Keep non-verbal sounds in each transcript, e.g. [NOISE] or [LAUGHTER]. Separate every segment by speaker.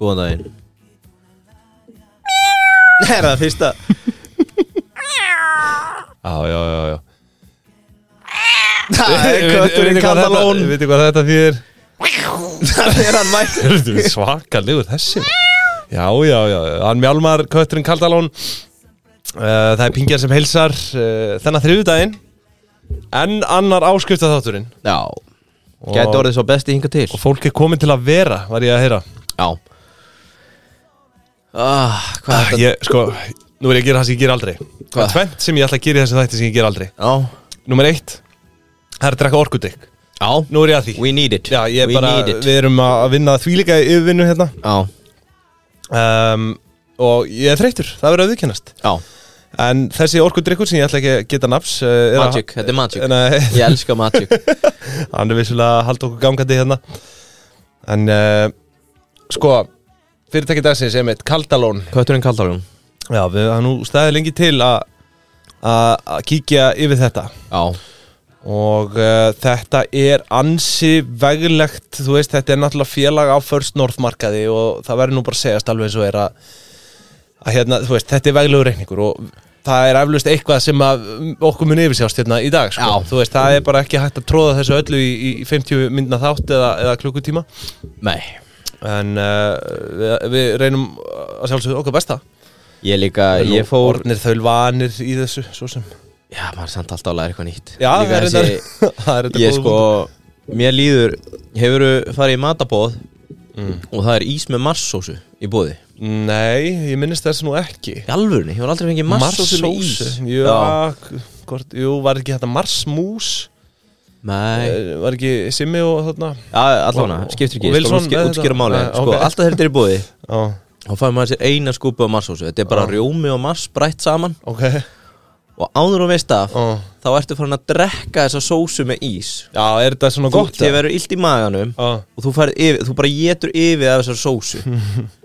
Speaker 1: Góðan daginn Nei, er það fyrsta
Speaker 2: Já, já, já, já
Speaker 1: [LAUGHS] Það er kötturinn [LAUGHS] Katalón
Speaker 2: Við veitum hvað þetta [LAUGHS] fyrir
Speaker 1: Það er hann mætt
Speaker 2: Þetta er svakalegur þessi Já, já, já, hann mjálmar kötturinn Kaldalón uh, Það er pingjar sem heilsar uh, Þennan þriðudaginn En annar áskrift að þátturinn
Speaker 1: Já, gæti orðið svo besti hinga til
Speaker 2: Og fólk er komið til að vera, var ég að heyra
Speaker 1: Já ah, Hvað er þetta?
Speaker 2: ég, Sko, nú er ég að gera það sem ég ger aldrei Það
Speaker 1: Hvað?
Speaker 2: er tvennt sem ég ætla að gera í þessu þætti sem ég ger aldrei
Speaker 1: Já,
Speaker 2: Númer eitt, það er að drekka orkudrykk
Speaker 1: já
Speaker 2: Nú er ég að því
Speaker 1: We need it
Speaker 2: Já, ég
Speaker 1: We
Speaker 2: bara,
Speaker 1: need it
Speaker 2: við erum að vinna því líka yfirvinnu hérna
Speaker 1: Já,
Speaker 2: um, Og ég er þreytur, það verður að viðkennast
Speaker 1: já,
Speaker 2: En þessi orkudrykkur sem ég ætla ekki að geta nafs uh, er að-
Speaker 1: Magic, þetta er Magic.
Speaker 2: Nei, [LAUGHS]
Speaker 1: ég elska Magic
Speaker 2: Hann er vissulega að halda okkur gangandi hérna En uh, sko, fyrirtæki dagsins er meitt Kaldalón
Speaker 1: [LAUGHS] Kötturinn Katalón
Speaker 2: Já, við hann nú staðið lengi til að að að kíkja yfir þetta
Speaker 1: Já,
Speaker 2: og uh, þetta er ansi veglegt, þú veist, þetta er náttúrulega félag á First North markaði og það verður nú bara að segjast alveg eins og er að, að hérna, þú veist, þetta er veglegur reikningur og það er eflaust eitthvað sem að mm, okkur mun yfirsjást hérna í dag, sko,
Speaker 1: Já.
Speaker 2: þú veist, það er bara ekki hægt að tróða þessu öllu í, í 50 myndna þátt eða, eða klukkutíma
Speaker 1: nei
Speaker 2: en uh, við, við reynum að sjálfsögðu okkur besta
Speaker 1: Ég líka, ég
Speaker 2: Nú,
Speaker 1: fór
Speaker 2: orðnir þaul vanir í þessu, svo sem
Speaker 1: Já, maður er samt alltaf að læra eitthvað nýtt
Speaker 2: Já,
Speaker 1: líka
Speaker 2: það er
Speaker 1: þessi
Speaker 2: þetta- [LAUGHS] það er þetta
Speaker 1: Ég
Speaker 2: góð
Speaker 1: sko, mér líður Hefurðu farið í matabóð Og það er ís með marsósu í bóði
Speaker 2: Nei, ég minnist þess nú ekki
Speaker 1: Í alvörni, ég var aldrei fengið marsósu með ís
Speaker 2: Marsósu? Já, hvort, jú, var ekki þetta marsmús
Speaker 1: Nei,
Speaker 2: Eh, Var ekki Simmi og þarna
Speaker 1: ja, allavega,
Speaker 2: og-
Speaker 1: skiptir
Speaker 2: og
Speaker 1: ekki Ég skal
Speaker 2: Wilson
Speaker 1: útský-
Speaker 2: með
Speaker 1: útskýra
Speaker 2: þetta?
Speaker 1: máli
Speaker 2: Nei,
Speaker 1: Sko,
Speaker 2: ok.
Speaker 1: alltaf þegar þetta er í bóði
Speaker 2: Já,
Speaker 1: Þá fæði maður sér eina skúpu af marsósu Þetta er bara rjómi og mars brætt saman
Speaker 2: ok
Speaker 1: Og áður og veist af
Speaker 2: Já.
Speaker 1: Þá ertu farin að drekka þessa sósu með ís
Speaker 2: Já, er þetta svona
Speaker 1: Þú,
Speaker 2: gott?
Speaker 1: þið verður illt í maganum
Speaker 2: Já,
Speaker 1: og þú, færð yfir, þú bara getur yfir af þessar
Speaker 2: [LAUGHS]
Speaker 1: sósu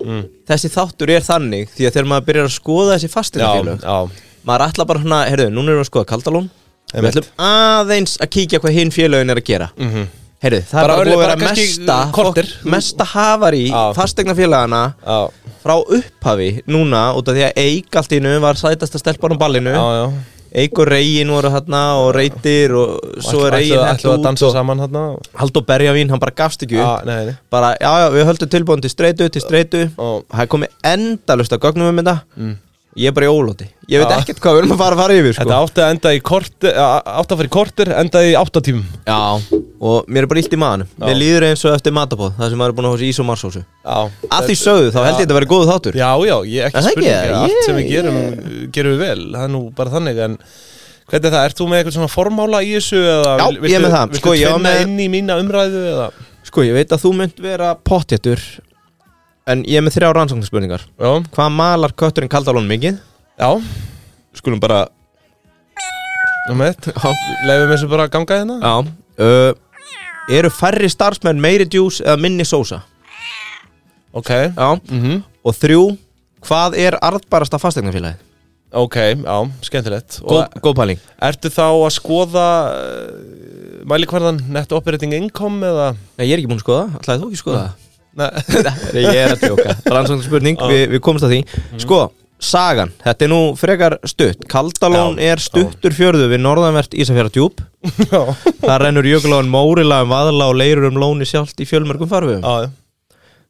Speaker 2: Mm.
Speaker 1: þessi þáttur er þannig því að þegar maður byrjar að skoða þessi
Speaker 2: já,
Speaker 1: fastinafélög
Speaker 2: já
Speaker 1: maður ætla bara hana, herðu, núna erum við að skoða kaldalón við
Speaker 2: Einmitt.
Speaker 1: ætlum aðeins að kíkja hvað hinn félögin er að gera
Speaker 2: Mhm.
Speaker 1: herðu, það
Speaker 2: Bara
Speaker 1: er bara búið að
Speaker 2: örli-
Speaker 1: vera
Speaker 2: bara kannski uh,
Speaker 1: mesta
Speaker 2: korter.
Speaker 1: fólk- mesta hafar í
Speaker 2: Já.
Speaker 1: fastegnafélagana
Speaker 2: Já,
Speaker 1: frá upphafi núna út af því að Eik allt í nu var sætasta stelpan á ballinu
Speaker 2: já, já
Speaker 1: Eik og Reyin voru þarna og Reytir og svo er
Speaker 2: Ætlu-
Speaker 1: Reyin
Speaker 2: ætlu- ætlu að dansa
Speaker 1: og
Speaker 2: saman þarna
Speaker 1: Haldur Berjavín, hann bara gafst ekki Sko. upp
Speaker 2: Já, nei, nei
Speaker 1: bara, já, já, við höldum tilbúin til streitu, til streitu
Speaker 2: Ó.
Speaker 1: það er komið endalust að gögnum um þetta ég er bara í ólóti, ég veit
Speaker 2: Mm. Já.
Speaker 1: ekkert hvað við erum að fara að fara yfir, sko
Speaker 2: Þetta átti að enda í korter, átti að fara í korter, endaði í áttatímum
Speaker 1: já, og mér er bara illt í maðanum
Speaker 2: Já.
Speaker 1: mér líður eins og eftir matabóð, það sem maður er búin að hósa ís og marsósu
Speaker 2: Já
Speaker 1: að því sögðu, þá held ég þetta verið góðu þáttur
Speaker 2: Já, já, ég ekki
Speaker 1: Er það ekki?
Speaker 2: spurning Allt sem við
Speaker 1: Ég-
Speaker 2: gerum, gerum við vel Það er nú bara þannig En hvernig er það? Ert þú með eitthvað svona formála í þessu? Eða,
Speaker 1: Já,
Speaker 2: vil-
Speaker 1: ég er með það.
Speaker 2: Viltu
Speaker 1: Sko, ég var
Speaker 2: tvinna
Speaker 1: með-
Speaker 2: inn í mína umræðu? Eða?
Speaker 1: sko, ég veit að þú mynd vera pottjættur en ég er með þrjá rannsóknarspurningar
Speaker 2: Já,
Speaker 1: hvað malar kötturinn kaldalón mikið?
Speaker 2: já um
Speaker 1: skulum bara
Speaker 2: Nú með Leifum þessu bara að ganga hérna
Speaker 1: já, uh, eru færri starfsmenn meiri djús eða minni sósa?
Speaker 2: Ok,
Speaker 1: já,
Speaker 2: mhm,
Speaker 1: Og þrjú, hvað er arðbarasta fastegnafélagið?
Speaker 2: ok, já, skemmtilegt
Speaker 1: Góð,
Speaker 2: Og
Speaker 1: góð pæling
Speaker 2: ertu þá að skoða uh, Mælikvarðan net operating income eða
Speaker 1: Nei, ég er ekki búin að skoða, ætlaði þú ekki að skoða
Speaker 2: Nei,
Speaker 1: það? Nei, ég er að [LAUGHS] tjóka Rannsóknar spurning, við, við komumst að því Sko, sagan, þetta er nú frekar stutt Kaldalón
Speaker 2: Já,
Speaker 1: er stuttur fjörðu við norðanvert Ísafjörðardjúp
Speaker 2: [LAUGHS] já,
Speaker 1: Það rennur jökuláin Mórila um vaðla og leirur um lóni sjálft í fjölmörgum farfum
Speaker 2: já,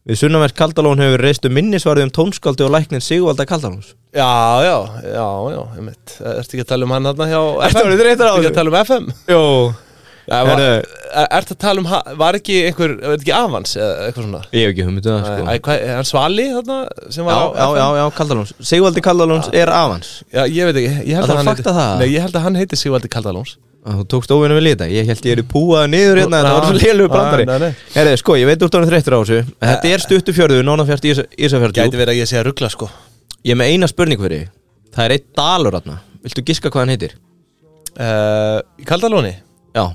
Speaker 1: Við sunnanvert Kaldalón hefur reist um minnisvarði um tónskaldi og læknin Sigvalda Kaldalóns
Speaker 2: já, já, já, já, ég mitt Ertu ekki að tala um hann hérna hjá
Speaker 1: Ertu
Speaker 2: FM?
Speaker 1: orðinn þreyttur á
Speaker 2: Ertu ekki
Speaker 1: þessu?
Speaker 2: að tala um FM?
Speaker 1: Jó,
Speaker 2: Nei, var,
Speaker 1: Heyrðu.
Speaker 2: er, ert að tala um, ha- var ekki einhver, var ekki avans eða eitthvað svona?
Speaker 1: ég hef ekki humið það sko
Speaker 2: Sko. Æ, hvað, er hann Svali þarna sem
Speaker 1: Já,
Speaker 2: var
Speaker 1: já, já, já, Kaldalóns Sigvaldi Kaldalóns er avans
Speaker 2: Já, ég veit ekki, ég
Speaker 1: Það
Speaker 2: held að,
Speaker 1: þarf
Speaker 2: hann
Speaker 1: að fakta það.
Speaker 2: Nei, ég held að hann heiti Sigvaldi Kaldalóns
Speaker 1: Að Þú tókst óvinna við lita, ég held ég er í púaða niður hérna en Það var svo lélugu
Speaker 2: Ah, Nei, nei,
Speaker 1: brandari
Speaker 2: nei.
Speaker 1: Herri, sko, ég veit úr tónu þreyttur á þessu en Þetta er stuttu fjörðu, nánafjart
Speaker 2: Gæti
Speaker 1: Ísafjörðu
Speaker 2: verið að ég sé að ruggla sko
Speaker 1: Ég er með eina spurning fyrir þig. Það er eitt dalur hérna Viltu giska hvað hann heitir?
Speaker 2: uh, Kaldalóni,
Speaker 1: Já,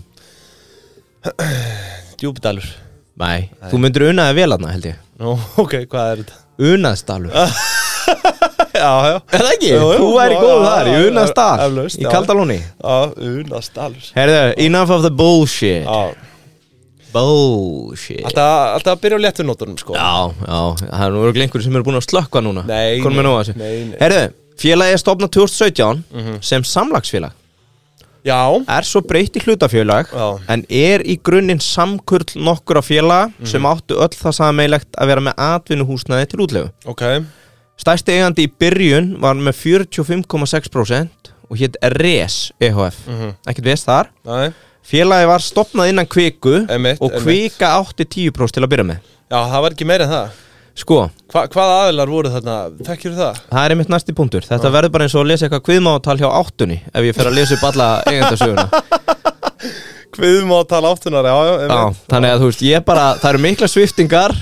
Speaker 2: djúbdalur
Speaker 1: nei, þú myndir unaðið vel hérna, held ég
Speaker 2: Nú, [LAUGHS] ok, hvað er þetta?
Speaker 1: Unaðsdalur
Speaker 2: [LAUGHS] já, já
Speaker 1: Er það ekki?
Speaker 2: Ah. Jú, jú,
Speaker 1: Þú væri
Speaker 2: já,
Speaker 1: góð
Speaker 2: já,
Speaker 1: þar, í
Speaker 2: já, já,
Speaker 1: unaðsdal
Speaker 2: eflaust,
Speaker 1: Í
Speaker 2: já.
Speaker 1: Kaldalóni
Speaker 2: Já, unast dalur
Speaker 1: Herri, enough of the bullshit
Speaker 2: Já,
Speaker 1: Bullshit
Speaker 2: Alltaf, alltaf að byrja á léttunótunum sko
Speaker 1: Já, já, það er nú verið einhverjum sem eru búin að slökka núna
Speaker 2: Nei,
Speaker 1: Konum við
Speaker 2: nei,
Speaker 1: nú að þessu
Speaker 2: nei, Mhm. nei.
Speaker 1: Herðu, félagið er stofnað 2017 sem samlagsfélag
Speaker 2: Já,
Speaker 1: er svo breytt í hlutafélag
Speaker 2: Já.
Speaker 1: en er í grunninn samkurl nokkura félaga
Speaker 2: Mhm.
Speaker 1: sem áttu öll það sameilegt að vera með atvinnuhúsnaði til útlegu
Speaker 2: ok
Speaker 1: Stærsti eigandi í byrjun var með 45,6% og hétt RES EHF
Speaker 2: Mhm.
Speaker 1: ekkert veist þar
Speaker 2: Nei.
Speaker 1: Félagi var stopnað innan kviku
Speaker 2: Einmitt,
Speaker 1: og
Speaker 2: einmitt.
Speaker 1: kvika átti 10% til að byrja með
Speaker 2: Já, það var ekki meira en það
Speaker 1: Sko,
Speaker 2: Hva, Hvaða aðilar voru þarna? Þekkjur það?
Speaker 1: Það er einmitt næsti punktur. Þetta verður bara eins og að lesa eitthvað kviðmáðtal hjá áttunni ef ég fer að lesa upp alla eigendasöguna.
Speaker 2: Hviðum á að tala áttunar, já, já,
Speaker 1: Já,
Speaker 2: einmitt.
Speaker 1: þannig að þú veist, ég bara, það eru mikla sviftingar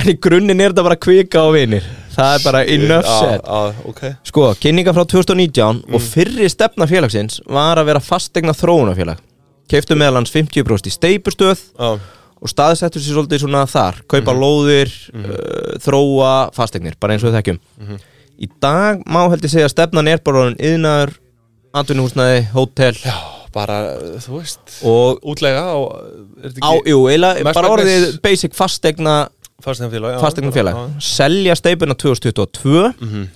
Speaker 1: en í grunninn er þetta bara kvika og vinir. Það er bara enough
Speaker 2: já,
Speaker 1: said.
Speaker 2: já, Ah, ok
Speaker 1: Sko, kynninga frá 2019 og fyrri stefna félagsins var að vera fastegna þróunafélag. Keiftu meðal hans 50% í steipustöð
Speaker 2: Já,
Speaker 1: og staðsettur sér svolítið svona þar kaupa lóðir, uh, þróa fastegnir, bara eins og við þekkjum í dag má held ég segja að stefnan er bara orðin yðnaður, atvinnuhúsnaði hótel
Speaker 2: já bara, þú veist
Speaker 1: og
Speaker 2: Útlega á, er
Speaker 1: á,
Speaker 2: þetta ekki
Speaker 1: jú, eiginlega
Speaker 2: Mest
Speaker 1: bara
Speaker 2: megnis-
Speaker 1: orðið basic fastegna
Speaker 2: fastegnafélag já,
Speaker 1: fastegnafélag,
Speaker 2: já, já.
Speaker 1: selja steipuna 2022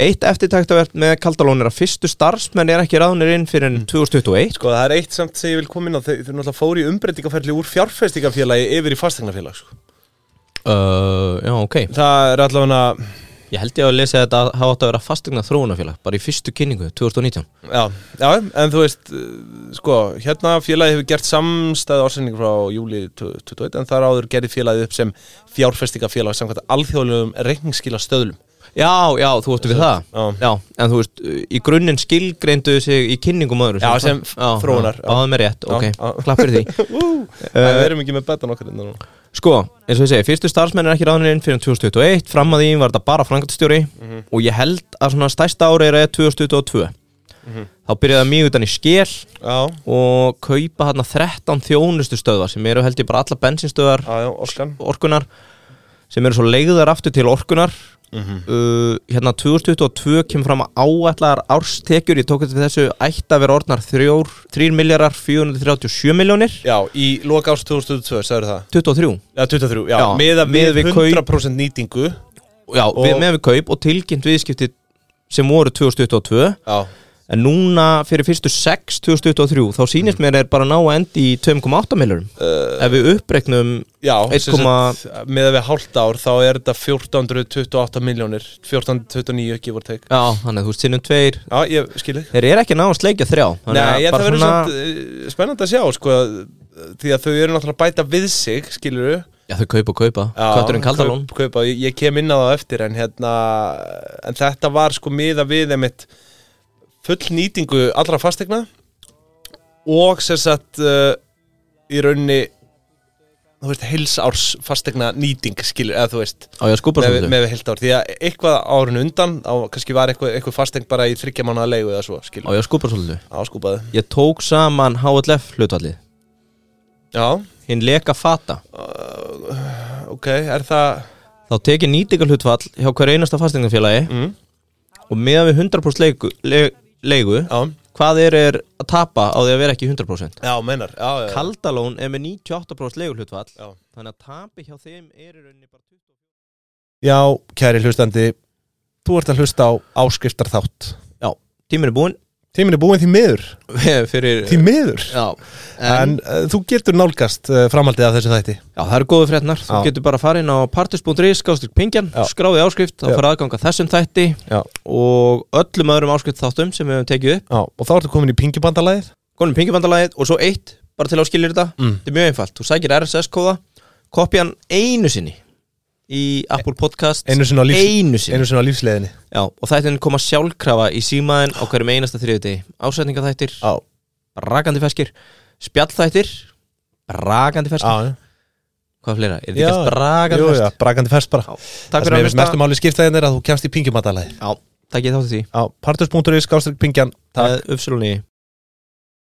Speaker 1: eitt eftirtaktavert með kaldalón er að fyrstu starfsmenn er ekki ráðnir inn fyrir en 2021
Speaker 2: Sko, það er eitt samt sem ég vil koma inn á Þau þau náttúrulega fóru í umbreytingaferli úr fjárfestingafélagi yfir í fastegnafélag sko.
Speaker 1: uh, já, ok,
Speaker 2: Það er allavega,
Speaker 1: ég held ég að lesa þetta að hafa átt að vera fastegna þróunafélag bara í fyrstu kynningu 2019
Speaker 2: já, já, en þú veist uh, Sko, hérna félagi hefur gert samstæð ársending frá júli 2021 En þar áður gerði félagið upp sem fjárfestingafélag Samkvæmt alþjóðlegum reikningsskila stöðlum
Speaker 1: Já, já, þú ættu við það
Speaker 2: Já.
Speaker 1: Já, en þú veist, í grunninn skilgreinduðu sig í kynningum öðru
Speaker 2: Já, sem þróunar, já.
Speaker 1: Báðum er rétt,
Speaker 2: Já,
Speaker 1: ok,
Speaker 2: já. [LAUGHS]
Speaker 1: klapp fyrir því
Speaker 2: Ú, Það við erum ekki með betan okkar innan núna
Speaker 1: Sko, eins og ég segi, fyrstu starfsmenn er ekki ráðinir inn fyrir 2021 Fram að því var þetta bara frangatstjóri
Speaker 2: Mhm.
Speaker 1: Og ég held að svona stærsta ári er 2022
Speaker 2: Mhm.
Speaker 1: Þá byrjaði það mjög utan í skél
Speaker 2: Já,
Speaker 1: Og kaupa hérna 13 þjónustu stöðvar Sem eru held ég bara alla bensinstöðar
Speaker 2: já, já, orkan
Speaker 1: orkunar sem eru svo leiðar aftur til orkunar
Speaker 2: Mhm.
Speaker 1: uh, hérna 2022 kemur fram að áallar árstekjur ég tók þetta við þessu ætti að vera orðnar 3 miljardar 437 miljónir
Speaker 2: Já, í loka árs 2022, sagður það
Speaker 1: 23
Speaker 2: Já, 23, já,
Speaker 1: Já,
Speaker 2: miða
Speaker 1: miðað
Speaker 2: við
Speaker 1: við
Speaker 2: 100% nýtingu
Speaker 1: já, við, með við kaup og tilkynnt viðskipti sem voru 2022
Speaker 2: Já,
Speaker 1: en núna fyrir fyrstu 6 2023 þá sýnist
Speaker 2: Mhm.
Speaker 1: mér er bara að ná að endi í 2,8 miljónum
Speaker 2: Uh.
Speaker 1: ef við uppreiknum
Speaker 2: já
Speaker 1: 1,-
Speaker 2: sem sagt, miðað við hálft ár þá er þetta 1428 miljónir 1429 ekki voru teik
Speaker 1: já, þannig að þú veist sinnum tveir
Speaker 2: Já, ég skil ekki
Speaker 1: þeir eru ekki að ná að sleikja þrjá þannig að
Speaker 2: Nei, ég,
Speaker 1: bara
Speaker 2: það verður
Speaker 1: svona-
Speaker 2: svona... spennandi að sjá sko, að- því að þau eru náttúrulega að bæta við sig skilur þau
Speaker 1: Já, þau kaupa og kaupa, katturinn kaldalón
Speaker 2: kaup, kaupa, ég, ég kem inn á það á eftir en, hérna, en þetta var sko miða við einmitt full nýtingu allra fastegna og sem sagt uh, í raunni þú veist, heilsárs fastegna nýting skilur, eða þú veist
Speaker 1: Á ég að skúpa
Speaker 2: með,
Speaker 1: svolítið
Speaker 2: með heilt ár, því að eitthvað árun undan á, kannski var eitthvað, eitthvað fastegn bara í þryggja mánuða leigu eða svo,
Speaker 1: Á
Speaker 2: skilur,
Speaker 1: ég að skúpa svolítið
Speaker 2: áskúpaði
Speaker 1: Ég tók saman HLF hlutallið
Speaker 2: Já, uh,
Speaker 1: Hinn leka fata
Speaker 2: ok, er það
Speaker 1: Þá tek ég nýtingar hlutfall hjá hver einasta fastegnafélagi
Speaker 2: Mm.
Speaker 1: Og meðan við 100% leigu, le, leigu
Speaker 2: Já,
Speaker 1: Hvað er, er að tapa á því að vera ekki 100%?
Speaker 2: já, meinar já, já, já.
Speaker 1: Kaldalón er með 98% leigu hlutfall
Speaker 2: Já.
Speaker 1: Þannig að tapi hjá þeim er í rauninni bara 20
Speaker 2: Já, kæri hlustandi Þú ert að hlusta á áskriftar þátt
Speaker 1: Já, tíminn er búinn [LAUGHS]
Speaker 2: Tíminn er búin því miður
Speaker 1: Fyrir
Speaker 2: Því miður
Speaker 1: Já, en,
Speaker 2: En uh, þú getur nálgast uh, framhaldið af þessu þætti
Speaker 1: já, það eru góðu fréttnar Þú
Speaker 2: Já.
Speaker 1: getur bara að fara inn á partus.is Skástur pingjan,
Speaker 2: Já.
Speaker 1: skráði áskrift Þá
Speaker 2: Já.
Speaker 1: fyrir aðganga þessum þætti
Speaker 2: Já,
Speaker 1: og öllum öðrum áskrift þáttum sem við höfum tekið upp
Speaker 2: já Og þá ertu komin í pingjubandalæðið
Speaker 1: konum pingjubandalagið og svo eitt bara til að áskilja þetta
Speaker 2: Mm.
Speaker 1: þetta er mjög einfalt, þú sækir RSS kóða kopja hann einu sinni í Apple Podcast
Speaker 2: E- Einu sinni á lífs-
Speaker 1: einu sinni.
Speaker 2: Einu sinni á lífsleiðinni
Speaker 1: Já, og þættin koma sjálfkrafa í símaðin á hverjum einasta þriðutegi ásætningaþættir,
Speaker 2: Já,
Speaker 1: rakandi ferskir spjallþættir rakandi ferskir,
Speaker 2: já
Speaker 1: hvað fleira? er þetta
Speaker 2: Já,
Speaker 1: ekki allt rakandi
Speaker 2: Jú, já,
Speaker 1: fersk?
Speaker 2: brakandi fest bara
Speaker 1: takk
Speaker 2: Það sem
Speaker 1: fyrir að
Speaker 2: er mestu
Speaker 1: hlusta
Speaker 2: máli skiptaðin er að þú kemst í pingjubandalæðið
Speaker 1: já, takk ég þátti því
Speaker 2: Já, partus.is, skástrík pingjan
Speaker 1: það er uppsölunni